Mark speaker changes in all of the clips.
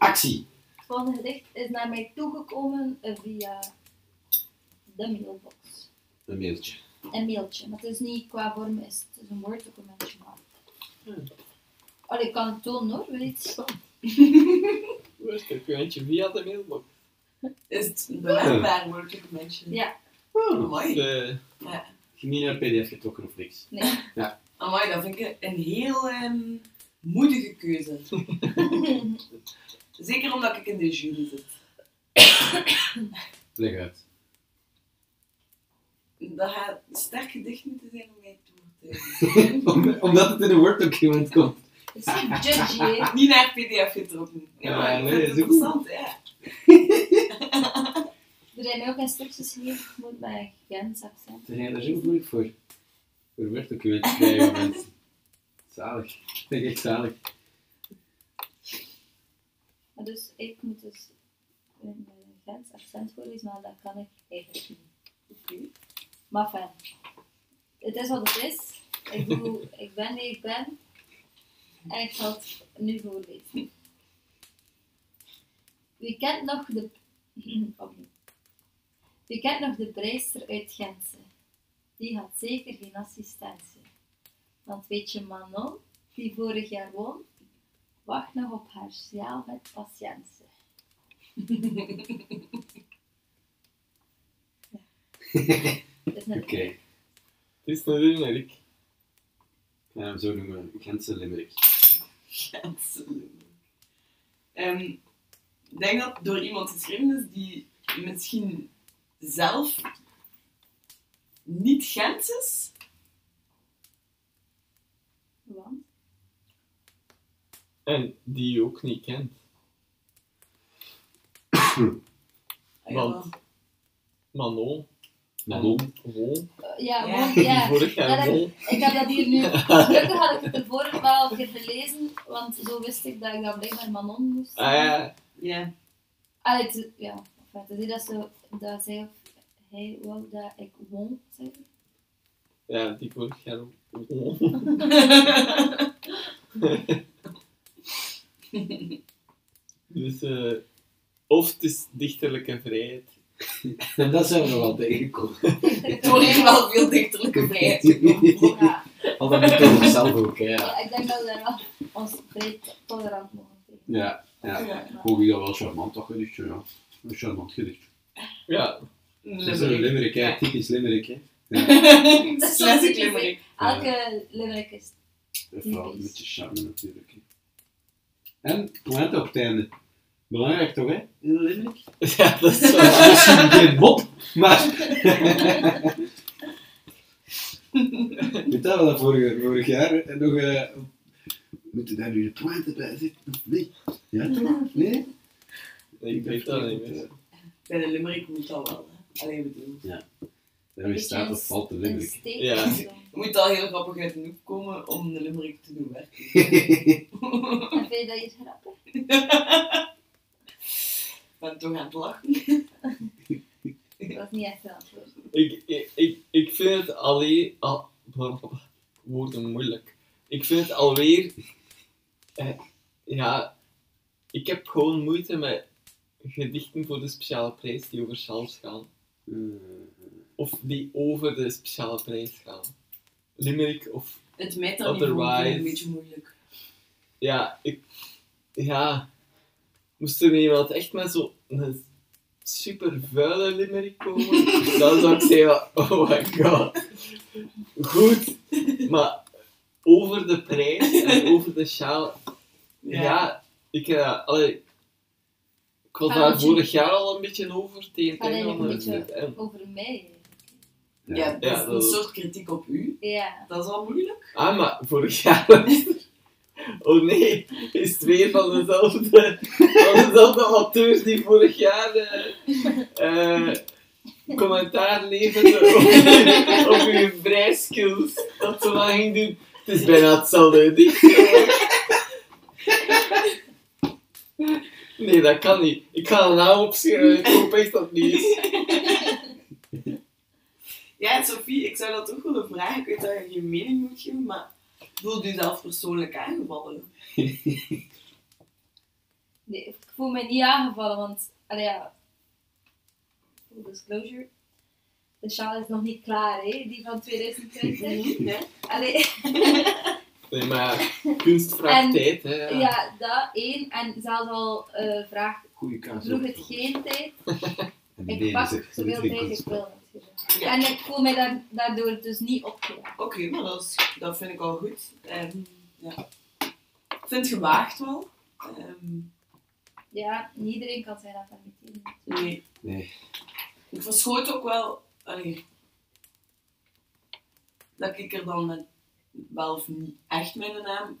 Speaker 1: Actie.
Speaker 2: Het volgende gedicht is naar mij toegekomen eh, via de mailbox.
Speaker 1: Een mailtje.
Speaker 2: Een mailtje. Maar het is niet qua vorm, is het, het is een woorddocumentje. Maar... Allee, ik kan het tonen hoor, weet je.
Speaker 3: Hoe is het? Eentje via de mailbox.
Speaker 4: Is het bewerkbaar Word Mention?
Speaker 2: Ja.
Speaker 1: Oh,
Speaker 4: Mooi.
Speaker 3: De-
Speaker 4: Ja.
Speaker 1: niet naar een pdf getrokken of niks.
Speaker 4: Amai, dat vind ik een heel ehm, moedige keuze. Zeker omdat ik in de jury zit.
Speaker 1: Leg uit.
Speaker 4: Dat gaat een sterk gedicht moeten zijn om mij toe te
Speaker 1: Om- Omdat het in een Word document komt.
Speaker 2: Het is geen judgy, hè.
Speaker 4: Niet naar pdf getrokken. Ja,
Speaker 1: Ja,
Speaker 4: maar ik
Speaker 1: nee, dat
Speaker 4: vind het
Speaker 1: is ook
Speaker 4: interessant, ja.
Speaker 2: Er zijn mij ook instructies gegeven, ik moet bij Gens accent.
Speaker 1: Ze zijn daar zo moeilijk voor. Voor Word documenten krijgen van mensen. Zalig. Vind ik echt zalig.
Speaker 2: Maar dus, ik moet dus een eh, Gens accent voorlezen, maar dat kan ik eigenlijk niet.
Speaker 4: Oké.
Speaker 2: Maar fijn. Het is wat het is. Ik, doe, ik ben wie ik ben. En ik zal het nu voorlezen. Wie kent nog de... Opnieuw. Wie kent nog de prijster uit Gentse? Die had zeker geen assistentie. Want weet je Manon, die vorig jaar won, wacht nog op haar sjaal met patiënten. Ja. Het is net
Speaker 1: Oké. Het is een limerick. Ik ga hem zo noemen. Een Gentse limerick.
Speaker 4: Absoluut. Ehm, ik denk dat het door iemand geschreven is die misschien zelf niet Gent is.
Speaker 2: Want
Speaker 3: En die je ook niet kent.
Speaker 4: Ah,
Speaker 3: Want-
Speaker 4: ja.
Speaker 3: Manon.
Speaker 1: Manon.
Speaker 3: Won.
Speaker 2: eh, ja,
Speaker 4: Ja.
Speaker 2: want ja.
Speaker 3: Vorig
Speaker 2: dat
Speaker 3: jaar
Speaker 2: heb-
Speaker 3: Won.
Speaker 2: ik heb dat hier nu. Gelukkig had ik het de vorige wel al een keer gelezen, want zo wist ik dat ik dat blijkbaar Manon moest.
Speaker 3: Ah ja.
Speaker 4: Ja.
Speaker 2: Ah, het, is- ja, enfin, het is niet dat, ze, dat zij of hij wou dat ik won zeggen.
Speaker 3: Ja, die vorig jaar Won. Dus, eh, of het is dichterlijke vrijheid.
Speaker 1: En dat zijn we nog wel tegengekomen.
Speaker 4: Toen is wel veel dichterlijke vrijheid gekomen.
Speaker 2: Ja,
Speaker 1: Al dat moet toch zelf ook, hè, ja.
Speaker 2: ik denk dat we daar wel ons vrij tolerant mogen zijn.
Speaker 1: Ja, ja.
Speaker 4: Ja.
Speaker 1: Vond ik dat wel charmant, dat gedichtje, ja. Een charmant gedichtje.
Speaker 3: Ja,
Speaker 1: Dat is een limerick, hè.
Speaker 4: Ja.
Speaker 1: Typisch limerick, hè.
Speaker 2: Dat is
Speaker 4: Classic
Speaker 2: typisch,
Speaker 4: limerick.
Speaker 2: hè. Elke limerick is.
Speaker 1: Dat is wel een beetje charme, natuurlijk. hè. En, pointe op het einde. Belangrijk toch, hè? In een limerick?
Speaker 3: ja dat is
Speaker 1: Dat
Speaker 3: wel.
Speaker 1: is misschien geen mop, maar... Weet dat wel dat vorige- vorig jaar eh, nog... eh, Moeten daar nu de pointe bij zitten? of Nee. Ja, toch? Nee?
Speaker 3: Ik weet dat niet
Speaker 1: eh,
Speaker 3: meer.
Speaker 4: Bij de limerick moet dat wel. Hè. Allee, ik bedoel.
Speaker 1: Daarmee staat of valt de
Speaker 2: Een
Speaker 1: limerick.
Speaker 2: steek.
Speaker 3: Ja.
Speaker 4: Je moet al heel grappig uit de hoek komen om de limerick te doen werken.
Speaker 2: En vind je dat hier grappig?
Speaker 4: Ik ben toch aan het lachen.
Speaker 2: Dat was niet echt een antwoord.
Speaker 3: Ik, ik, ik, ik vind het alleen... Al, blablabla. woorden moeilijk. Ik vind het alweer... eh, ja... Ik heb gewoon moeite met gedichten voor de speciale prijs die over Charles gaan.
Speaker 1: Eh,
Speaker 3: Of die over de speciale prijs gaan. Limerick of...
Speaker 4: Het meterniveau vind ik
Speaker 3: Otherwise.
Speaker 4: een beetje moeilijk.
Speaker 3: Ja, ik... Ja... Moest er iemand echt met zo'n super vuile limerick komen, dan zou ik zeggen, oh my god. Goed, maar over de prijs en over de sjaal, ja, ik, eh, allee, ik was
Speaker 2: Gaan
Speaker 3: daar
Speaker 2: we-
Speaker 3: vorig jaar al een beetje over tegen het
Speaker 2: Gaan
Speaker 3: einde
Speaker 2: we
Speaker 3: van
Speaker 2: nog
Speaker 3: de
Speaker 2: Ah, een beetje-
Speaker 3: zit. En,
Speaker 2: Over mij.
Speaker 4: Ja,
Speaker 1: Ja.
Speaker 4: dat is
Speaker 3: Ja,
Speaker 4: een
Speaker 3: dat-
Speaker 4: soort kritiek op u.
Speaker 2: Ja.
Speaker 4: Dat is al moeilijk.
Speaker 3: ah, maar vorig jaar... Oh nee, is het weer van dezelfde, van dezelfde auteur die vorig jaar eh, eh, commentaar leverde op, je- op uw vrijskills. Dat ze wat ging doen. Het is bijna hetzelfde. gedicht. Nee, dat kan niet. Ik ga een naam opschrijven. Ik hoop echt dat het niet is.
Speaker 4: Ja, en Sophie, ik zou dat ook willen vragen. Ik weet dat je je mening moet geven, maar voelt u zelf persoonlijk aangevallen?
Speaker 2: Nee, ik voel me niet aangevallen, want allee, ja, full disclosure. De sjaal is nog niet klaar, hè? die van 2020.
Speaker 4: Ja.
Speaker 2: Allee,
Speaker 3: Nee, maar kunst vraagt
Speaker 2: En-
Speaker 3: tijd, hè. Ja.
Speaker 2: ja. dat één. En zelfs al eh vraag,
Speaker 1: Goeie kaas.
Speaker 2: vroeg het geen tijd.
Speaker 1: En
Speaker 2: Ik
Speaker 1: beneden
Speaker 2: pak
Speaker 1: zit-
Speaker 2: zoveel
Speaker 1: zit een
Speaker 2: tijd ik
Speaker 1: kunstwerk.
Speaker 2: wil. natuurlijk. En ik voel me daar, daardoor dus niet opgeladen.
Speaker 4: Oké, maar dat, is, dat vind ik al goed. Ehm, ja. Ik vind het gewaagd wel. Ehm,
Speaker 2: Ja, niet iedereen kan zijn dat permitteren.
Speaker 4: nee.
Speaker 1: Nee.
Speaker 4: Ik verschoot ook wel... allee, dat ik er dan met, wel of niet echt mijn naam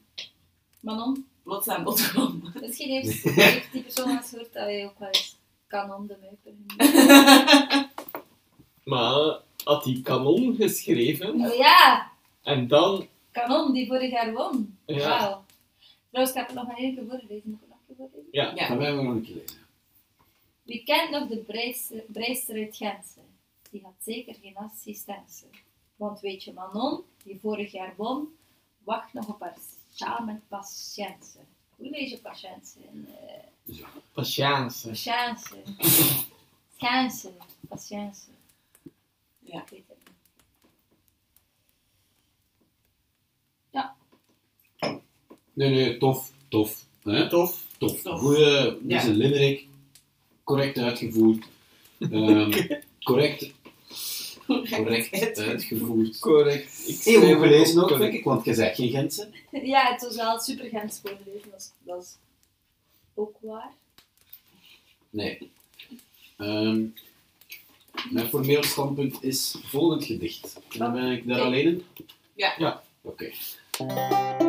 Speaker 2: Manon,
Speaker 4: plots aan bod kwam.
Speaker 2: misschien heeft, heeft die persoon al eens gehoord dat je ook wel eens kanon de muiper genoemd
Speaker 3: Maar had hij kanon geschreven
Speaker 2: wordt. Oh ja,
Speaker 3: en dan...
Speaker 2: kanon die vorig jaar won.
Speaker 3: Ja.
Speaker 2: Wauw. Trouwens, ik heb het nog maar één keer voorgelezen. Moet ik het nog een keer voorlezen?
Speaker 1: Gaan wij maar nog een keer lezen.
Speaker 2: Wie kent nog de breister- breister uit Gense? Die had zeker geen assistentie. Want weet je, Manon, die vorig jaar won, wacht nog op haar sjaal met patiëntie. Hoe lees je patiëntie? Eh,
Speaker 3: Patience.
Speaker 2: Patiëntie. Schaanse. Patiëntie.
Speaker 4: Ja.
Speaker 2: Ik weet het niet. Ja,
Speaker 1: Nee, nee, tof. Tof. Hè?
Speaker 3: Tof.
Speaker 1: Tof.
Speaker 4: Tof.
Speaker 1: Goeie, dit is
Speaker 4: Ja.
Speaker 1: een limerick. Correct uitgevoerd. Ehm, correct, correct uitgevoerd.
Speaker 3: Correct. Ik
Speaker 1: Heel
Speaker 3: schrijf
Speaker 1: goed gelezen
Speaker 3: het
Speaker 1: ook,
Speaker 3: correct.
Speaker 1: vind ik, want je zegt geen Gentse.
Speaker 2: ja het was wel super Gens voorgelezen. Dat is, dat is ook waar.
Speaker 1: Nee. Ehm, mijn formeel standpunt is volgend gedicht. En dan ben ik daar
Speaker 2: Oké.
Speaker 1: alleen in?
Speaker 4: Ja.
Speaker 3: Ja.
Speaker 1: Oké.